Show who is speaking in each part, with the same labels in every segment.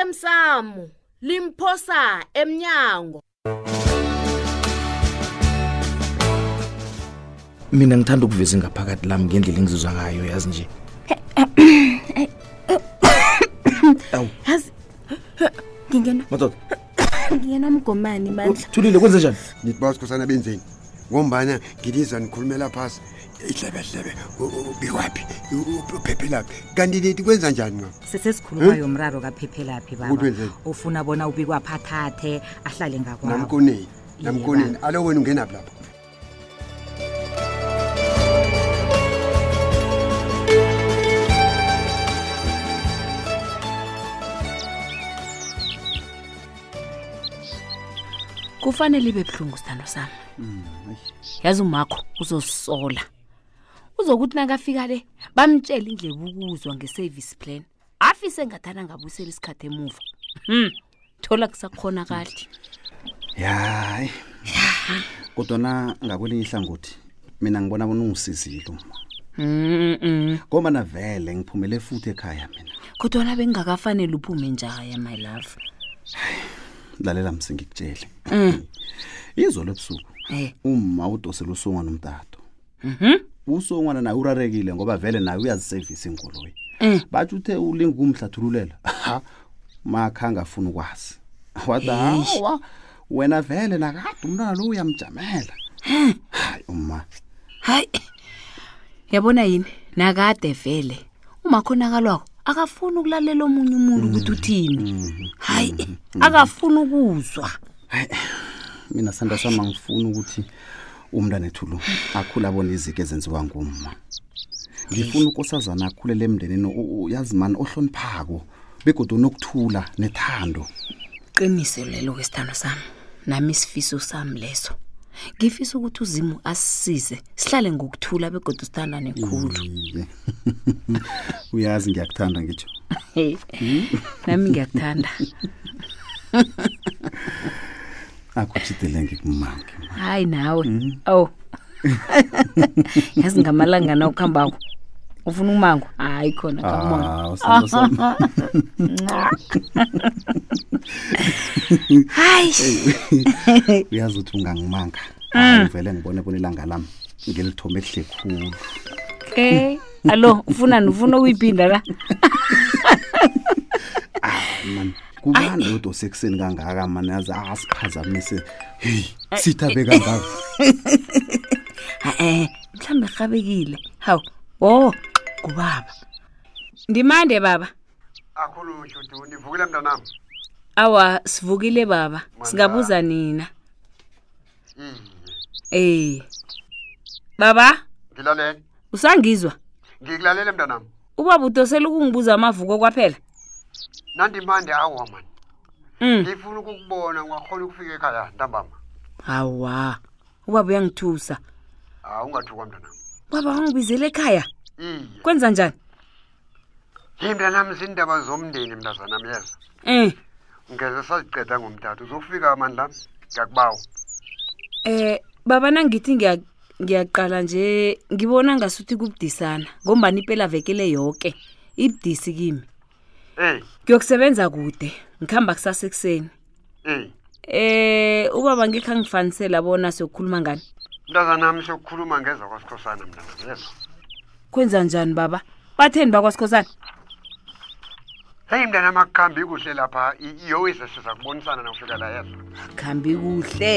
Speaker 1: osemsamo limphosa emnyango
Speaker 2: mina ngithanda ukuveza ingaphakathi lami ngendlela engizizwa ngayo yazi nje awu
Speaker 3: yazi ngingena
Speaker 2: madoda
Speaker 3: ngingena mgomani bandla
Speaker 2: thulile kwenze njani
Speaker 4: nithi sikhosana benzeni ngombana ngilizwa nikhulumela phasi idlebehlebe ubikwaphi uphephelaphi kanti nithi kwenza njani ngam
Speaker 5: sesesikhulumayo umraro kaphephelaphi
Speaker 4: Ukuthi
Speaker 5: baba
Speaker 4: wenzeni?
Speaker 5: ufuna bona ubikwaphi athathe ahlale ngakwabo
Speaker 4: namkoneni
Speaker 5: Iye,
Speaker 4: namkoneni
Speaker 5: baba.
Speaker 4: alo wena ungenaphi lapho
Speaker 6: kufanele ibe buhlungu sithando sami yazi umakho uzosisola uzokuthi nakafika le bamtshele indlela ukuzwa nge-service plan afise ngathana ngabuyisela isikhathi emuva Hmm, thola kusakhona kade
Speaker 7: yayi kodwana ngakwelinye ihlangothi mina ngibona bona ungisizile uma ngobana vele ngiphumele futhi ekhaya mina
Speaker 6: kodwana bengingakafanele uphume njaya my love
Speaker 7: lalela mse ngikutshele
Speaker 6: Mm.
Speaker 7: izwa lobusuku
Speaker 6: Eh.
Speaker 7: uma udosela usongwana umtato
Speaker 3: Mhm.
Speaker 7: usongwana naye urarekile ngoba vele naye uyazisevisa inkoloyi
Speaker 3: Mm.
Speaker 7: batsho uthe ulinga ukumhlathululela makhanga afuna ukwazi wathi hawa wena vele nakade umntwana lo uyamjamela hayi uma
Speaker 6: hayi yabona yini nakade vele umakhonakalwako akafuni ukulalela omunye umuntu ukuthi uthini hayi akafuni ukuzwa
Speaker 7: mina sanda sama ngifuna ukuthi umntwana ethu lo akhule abone iziko ezenziwa ngumma ngifuna ukosazana akhulele emndenini o- o- yazi mani ohloniphako begodwa nokuthula nethando
Speaker 6: qiniso lelo ke sithando sami nami isifiso sami leso ngifisa ukuthi uzimu asisize sihlale ngokuthula begodwa sithandane khulu
Speaker 7: Iye. uyazi ngiyakuthanda ngitsho
Speaker 6: Hey, nami ngiyakuthanda
Speaker 7: akhutshidele ngikumange
Speaker 6: hayi nawe awu yazi ngamalanga na ukuhambako ufuna umango hayi khona kamona
Speaker 7: Ah, usando sama.
Speaker 6: hayi
Speaker 7: uyazi ukuthi ungangimanga Hayi, vele ngibone bona ilanga lami ngilithome kuhle khulu
Speaker 6: ke Eh, allo ufunani ufuna ukuyiphinda la
Speaker 7: kubani udose ekuseni kangaka mani yazi asiphazamise heyi sithabe kangaka
Speaker 6: e-e mhlawumbe rhabekile hawu wo kubaba ndimande baba
Speaker 4: akhulu shudu nivukile mntanam
Speaker 6: awa sivukile baba singabuza nina eh baba
Speaker 4: ngilalele
Speaker 6: usangizwa
Speaker 4: ngikulalele mntanam
Speaker 6: ubaba udosela ukungibuza amavuko kwaphela
Speaker 4: nandimande awa mani
Speaker 6: Mm.
Speaker 4: ngifuna ukukubona ungakhona ukufika ekhaya ntambama
Speaker 6: hawa ubaba uyangithusa
Speaker 4: hawu ungathukwa mntanam
Speaker 6: baba wangibizela ekhaya
Speaker 4: iye
Speaker 6: kwenza njani
Speaker 4: yi mntanam ziindaba zomndeni mntazanam yezo
Speaker 6: um
Speaker 4: ngeze saziceda ngomtatha uzofika amandla ngakubawo
Speaker 6: um baba nangithi ngiya- ngiyaqala nje ngibona ngasuthi kubudisana ngombani ipela vekele yoke ibudisi kimi
Speaker 4: eyi
Speaker 6: ngiyokusebenza kude ngikuhamba kusasa ekuseni
Speaker 4: eyi
Speaker 6: Eh ubaba ngikha ngifanisela bona sokukhuluma ngani.
Speaker 4: mntazanam sokukhuluma ngeza kwasikhosana mntanam yezo
Speaker 6: Kwenza njani baba? Batheni bakwasikhosana?
Speaker 4: heyi mntanam akuhambi kuhle lapha iyowise siza kubonisana nawufika la yezo
Speaker 6: Khambi kuhle.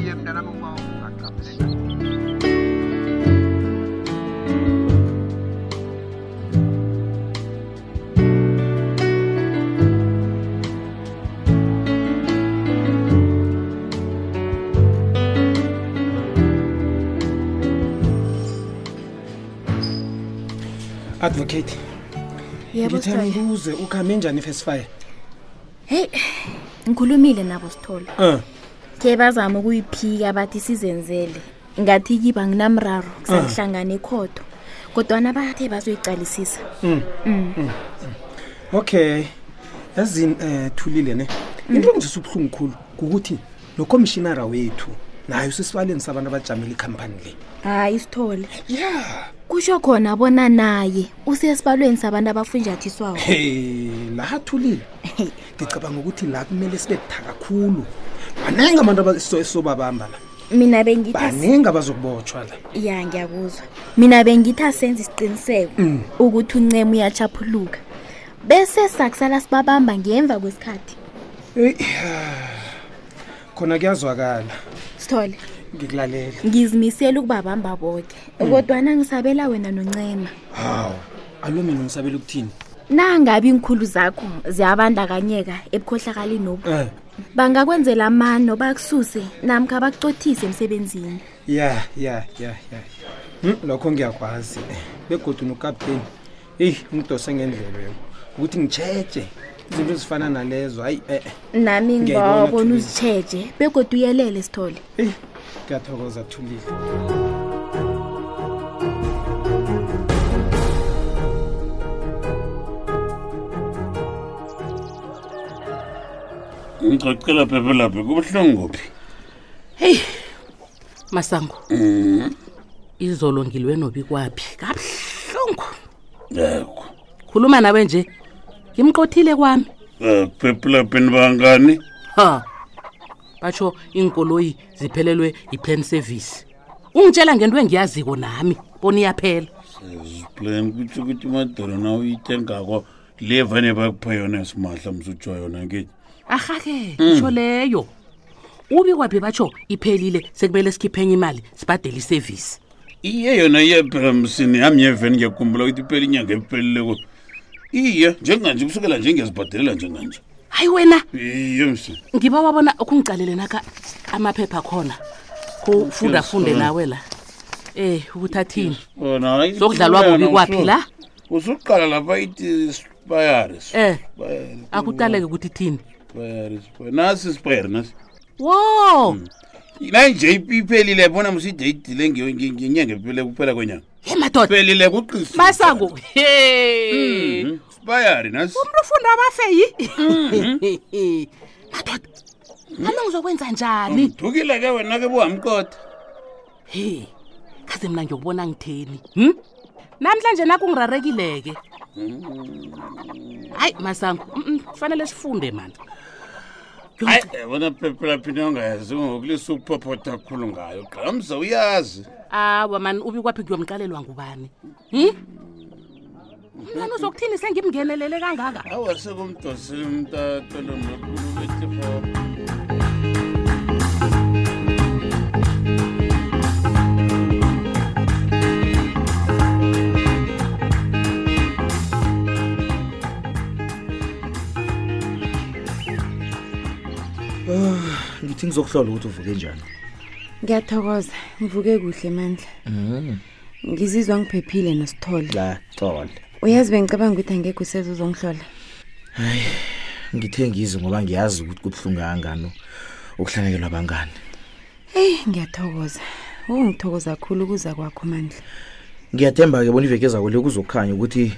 Speaker 4: iye mntanam ukuba ungakuhambele
Speaker 8: advocate
Speaker 3: yebo
Speaker 8: ngithe
Speaker 3: sithole
Speaker 8: ngibuze ukhambe njani ifesifire
Speaker 3: heyi ngikhulumile nabo sithole
Speaker 8: um
Speaker 3: ke bazama ukuyiphika bathi sizenzele ngathi kiba nginamraro kusahlangana ekhodo kodwana bathe bazoyicalisisa
Speaker 8: okay eh, yazini um thulile ne into engizisa ubuhlungu khulu kukuthi nokomishinara wethu naye usesibaleni sabantu abajamela ikhampani le
Speaker 3: hayi sithole
Speaker 8: ya
Speaker 3: kusho khona bona naye usesibalweni sabantu abafunjathiswako
Speaker 8: he la athulile ngicabanga ukuthi la kumele sibe buthaka kakhulu baningi abantu abasobabamba la
Speaker 3: mina bengithi asi-
Speaker 8: baningi abazokubotshwa la
Speaker 3: ya ngiyakuzwa mina bengithi asenza isiqiniseko ukuthi uncema uyachaphuluka bese sakusala sibabamba ngemva kwesikhathi
Speaker 8: Eyi, ya. khona kuyazwakala
Speaker 3: sithole
Speaker 8: ngikulalela
Speaker 3: ngizimisele ukubabamba boke kodwana ngisabela wena noncema
Speaker 8: hawu alo mina ngisabela ukuthini
Speaker 3: nangabi inkhulu zakho ziyabandakanyeka ebukhohlakaleni obu
Speaker 8: um
Speaker 3: bangakwenzela amano bakususe namkha bakucothise emsebenzini
Speaker 8: ya ya ya ya Hmm, lokho ngiyakwazi begodu nokapteni eyi ngidose ngendlela yo ukuthi ngitshetshe izinto ezifana nalezo hayi eh, e-e
Speaker 3: nami
Speaker 8: Ngiyayibona,
Speaker 3: ngibabona
Speaker 8: Thulile.
Speaker 3: uzitsheje begodwa uyelele sithole
Speaker 8: eyi ngiyathokoza thulile
Speaker 9: ngicocela phephe lapho kubuhlongophi
Speaker 10: masango izolo ngilwe nobi kwaphi kabuhlungu
Speaker 9: yakho
Speaker 10: khuluma nawe nje ngimqothile kwami
Speaker 9: phephe lapheni bangani
Speaker 10: ha batsho iinkoloyi ziphelelwe yi-plan service ungitshela ngento engiyaziko nami bona iyaphela
Speaker 9: plan kutsho ukuthi madolo na uyithengako le vane bakupha yona simahla msutshwa yona ngethi
Speaker 10: arhake itsho leyo ubi kwaphi batsho iphelile sekumele sikhiphe enye imali sibhadele isevisi
Speaker 9: iye yona iye phela msini yami yeveni ngiyakhumbula ukuthi iphela inyanga epheleleko iye njenganje kusukela njengiyazibhadelela njenganje
Speaker 10: hayi wena
Speaker 9: iye msini
Speaker 10: ngiba wabona ukungicalele naka amaphepha khona kufundafunde
Speaker 9: Yes,
Speaker 10: nawe la eh ukuthathini
Speaker 9: Wona, hayi,
Speaker 10: Sokudlalwa
Speaker 9: kuthulana,
Speaker 10: kubi kwaphi
Speaker 9: usu-
Speaker 10: la?
Speaker 9: usuqala lapha ithi sipayare
Speaker 10: Eh.
Speaker 9: sipayare,
Speaker 10: akutaleke ukuthi thini
Speaker 9: sipayare, sipayare. nasi sipayare nasi
Speaker 10: wo
Speaker 9: nanje iphelile bona mside idile ngiyo- ngi- ngenyanga ephele kuphela kwenyanga
Speaker 10: ye madoda
Speaker 9: phelile kuqisa
Speaker 10: masango
Speaker 9: Hmm.
Speaker 10: he
Speaker 9: Mm-hmm. sipayari nasi
Speaker 10: umuntu ufunda abafeyi madoda nami ngizokwenza njani
Speaker 9: ngidukile ke wena ke buhamkota
Speaker 10: he kaze mna ngiyokubona ngitheni hm namhlanje nakungirarekile-ke hayi masango mm, mm, kufanele sifunde mani
Speaker 9: hayi yabona phepelaphini ongayazi ngokulisa ukuphophotha kakhulu ngayo gqamza uyazi
Speaker 10: awa mani ubi kwaphi kuyomqalelwa ngubani hm mntwana uzokuthini sengimngenelele kangaka
Speaker 9: awa sekumdosile umtato nomlokhulu betlifo
Speaker 2: ngithi ngizokuhlola ukuthi uvuke njani
Speaker 5: ngiyathokoza ngivuke kuhle mandla ngizizwa ngiphephile nosithole
Speaker 2: la tole
Speaker 5: uyazi bengicabanga ukuthi angekho useza uzongihlola
Speaker 2: ngithe ngize ngoba ngiyazi ukuthi kubuhlungu kangani ukuhlanekelwa abangani
Speaker 5: eyi ngiyathokoza ungithokoza kakhulu ukuza kwakho mandla
Speaker 2: ngiyathemba-ke bona iveke ezakule kuzokhanya ukuthi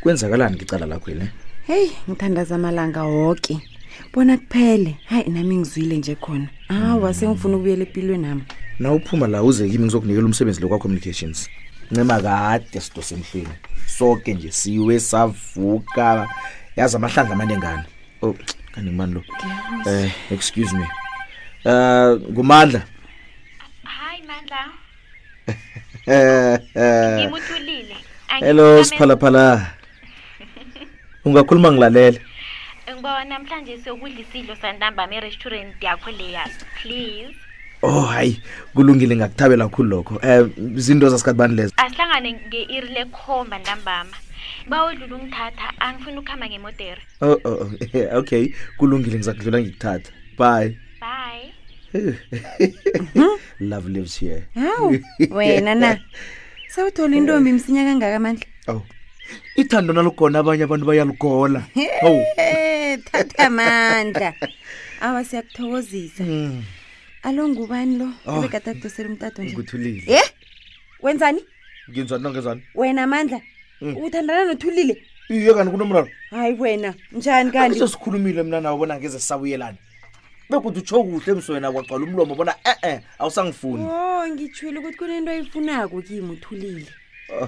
Speaker 2: kwenzakalani eh? ngicala lakhwele
Speaker 5: heyi ngithandaza amalanga woke bona kuphele hayi nami ngizwile nje khona awa sengifuna ukubuyela empilwe nami
Speaker 2: na uphuma la uze kimi ngizokunikela umsebenzi lo kwa-communications ncema kade sidosemhlweni soke nje siwe savuka yazi amahlandla amane ngane o kanti ngubani lo um excuse me um ngumandla
Speaker 11: hayi mandla
Speaker 2: Eh, eh,
Speaker 11: ngimuthulile
Speaker 2: hello siphalaphala ungakhuluma ngilalele
Speaker 11: ngibawa namhlanje siyokudla isidlo santambama erestaurant yakho leya please
Speaker 2: oh hayi kulungile ngakuthabela kakhulu lokho um zinto zasikhathi bani lezo
Speaker 11: asihlangane nge-iri lekhomba ntambama bawodlula ungithatha angifuni ukuhamba ngemodere
Speaker 2: oh, oh, oh, okay kulungile ngizakudlula ngikuthatha bye
Speaker 11: bye
Speaker 2: love lives here
Speaker 5: hawu wena na sewuthola intombi msinya kangaka mandla
Speaker 2: oh ithando nalugona abanye abantu bayalugola oh
Speaker 5: Eh, thatha mandla awa siyakuthokozisa alo ngubani lo
Speaker 2: Oh. ah,
Speaker 5: obekatadosela umtato nje
Speaker 2: nguthulile
Speaker 5: ye wenzani
Speaker 2: ngenzani nangenzani
Speaker 5: wena mandla uthandana nothulile
Speaker 2: iye kanti kunomraro
Speaker 5: hayi wena njani kanti
Speaker 2: sikhulumile mna nawe bona ngeze sisabuyelani bekuthi utsho kuhle emswena kwagcwala umlomo bona e-e awusangifuni
Speaker 5: o ngitshwile Oh, ukuthi kunento ayifunako kimi uthulile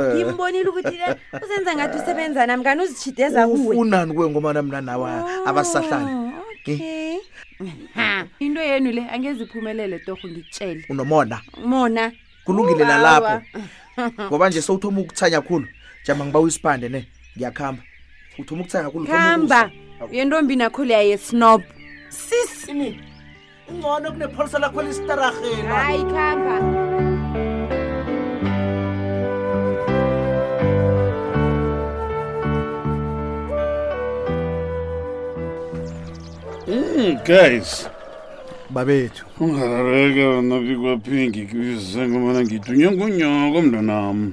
Speaker 2: Eh.
Speaker 5: ngimbonile ukuthi le usenza ngathi usebenza nami kani uzitshideza kuwe Oh,
Speaker 2: ufunani kuwe ngomana mna nawe abasahlali
Speaker 5: okay Ha, Mm-hmm. into yenu le angeze iphumelele torho ngikutshele
Speaker 2: unomona
Speaker 5: mona
Speaker 2: kulungile lalapho
Speaker 5: Awa.
Speaker 2: ngoba nje sewuthoma ukuthanya khulu jama ngiba uyisibande ne ngiyakuhamba uthoma ukuthanya khulu uthoma
Speaker 5: khamba yentombi nakho leya yesnob sisini
Speaker 2: ukusa. ingcono kunepholisa lakho lisitaraheni
Speaker 5: hayi khamba
Speaker 9: Mm, guys
Speaker 7: babethu
Speaker 9: ungarareka wena bikwaphi ngikubize ngomana ngithunywe ngunyoko mntanam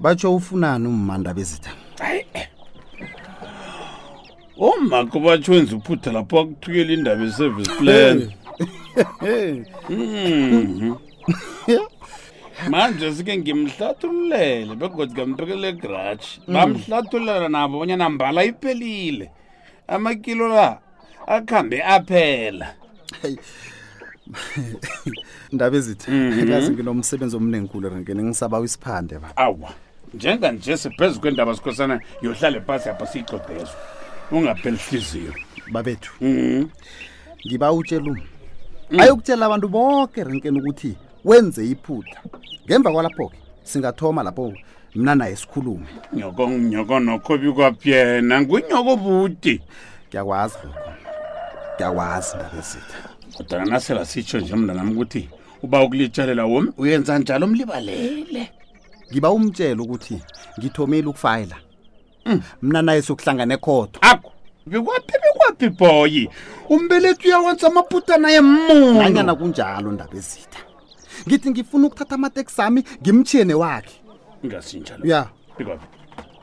Speaker 7: batsho ufunani ummanda bezitha
Speaker 9: omakho batsho wenza uphutha lapho akuthukela indaba ye-service plan Mhm. manje sike ngimhlathululele begodi kamphekela egraji
Speaker 12: Mm.
Speaker 9: bamhlathululela nabo bonyana mbala iphelile amakilo la akhambe aphela
Speaker 7: ndaba ezitha
Speaker 9: Mhm.
Speaker 7: yazi nginomsebenzi omnengikhulu renkeni ngisaba isiphande ba
Speaker 9: awa njenganje siphezu kwendaba sikhosana yohlale phasi yapha siyixodezo ungapheli hliziyo
Speaker 7: babethu ngiba utshela uma ayokutshela abantu bonke renkeni ukuthi wenze iphutha ngemva kwalapho-ke singathoma lapho mna naye sikhulume
Speaker 9: nyoko nyoko nokho bikwaphi yena ngunyoko buti
Speaker 7: ngiyakwazi lokho ngiyakwazi ndabezitha
Speaker 9: kodwa nasela sitsho nje mntanam ukuthi uba ukulitshalela wom uyenza njalo
Speaker 7: Eh.
Speaker 9: mlibalele
Speaker 7: ngiba umtshela ukuthi ngithomile ukufayila mna naye sokuhlangane khodo
Speaker 9: akho bikwaphi bikwaphi boyi umbelethi uyawenza amaphutha naye muno
Speaker 7: nanyana kunjalo ndaba ezitha ngithi ngifuna ukuthatha amateksi ami ngimtshiyene wakhe
Speaker 9: ingasinjalo
Speaker 7: ya
Speaker 9: bikwaphi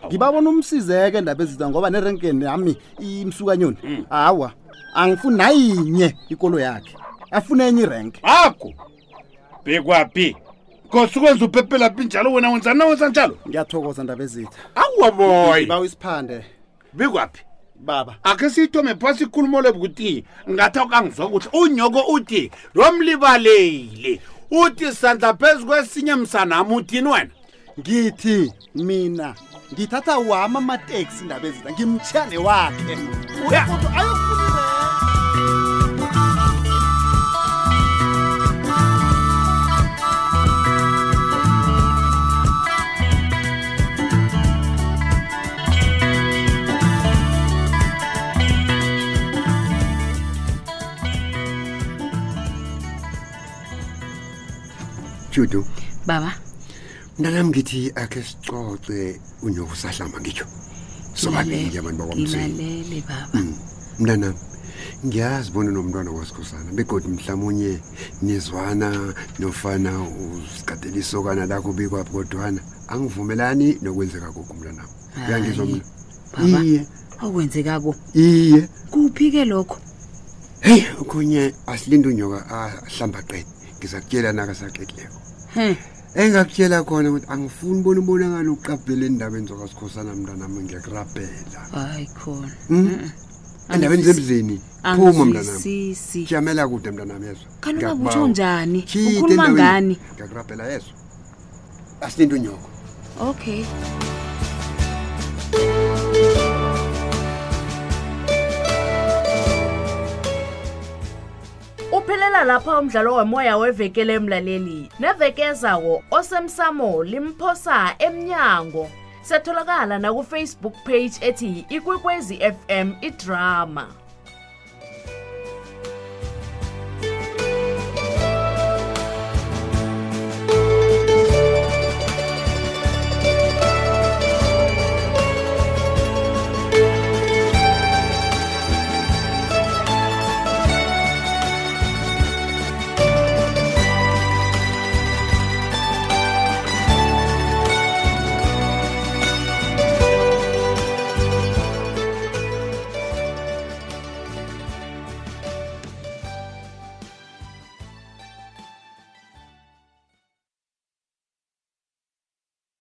Speaker 7: ngibabona umsizeke ndaba ezitha ngoba nerenkeni yami imsukanyoni hawa angifuni nayinye ikolo yakhe afune enye irenke
Speaker 9: akho bikwaphi kosukwenza uphephelaphi njalo wena wenza nawenza njalo
Speaker 7: ngiyathokoza ndaba ezitha
Speaker 9: awa boyi
Speaker 7: baw isiphande
Speaker 9: bikwaphi
Speaker 7: baba
Speaker 9: akhe siyithome phasi ikhulumo le ukuthi ngathi akangizwa kuhle unyoko uthi lo mlibaleli uthi sandla phezu kwesinye msanami uthini wena
Speaker 7: ngithi mina ngithatha wami amateksi ndaba ezitha ngimtshiyane wakhe Uyakuthi ayokufuna irenke.
Speaker 4: judu
Speaker 6: baba
Speaker 4: mntanam ngithi akhe sicoce unokusahlamba ngitsho sobabili abantu Mm. bakwamzini
Speaker 6: ngilalele baba
Speaker 4: mntanam ngiyazi bona nomntwana wasikhosana begodi mhlawumunye nizwana nofana usigadela isokana lakho bikwaphi kodwana angivumelani nokwenzeka kokho mntanam uyangizwa mna
Speaker 6: baba
Speaker 4: iye
Speaker 6: okwenzekako
Speaker 4: iye
Speaker 6: kuphi-ke lokho
Speaker 4: heyi okunye asilinde unyoka ahlamba qede ngizakutshela nakasaqedileyo engakutshela khona ukuthi angifuni bona ubonakala uqabhela endabeni zokwasikhosana mntanam ngiyakurabhela
Speaker 6: hayi khona
Speaker 4: Mm.
Speaker 6: Mm-mm.
Speaker 4: endabeni zemzini phuma mntanam
Speaker 6: Angizwisisi.
Speaker 4: jamela kude mntanam yezwa
Speaker 6: Kaloku baba
Speaker 4: Ngiyakubawa.
Speaker 6: utsho njani?
Speaker 4: Khipha
Speaker 6: Ukhuluma
Speaker 4: endaweni.
Speaker 6: ngani?
Speaker 4: ngiyakurabhela yezwa asilinde unyoko
Speaker 6: okay
Speaker 1: uphelela lapha umdlalo womoya wevekele emlaleli neveke ezawo osemsamo limphosa emnyango setholakala nakufacebook page ethi ikwekwezi fm idrama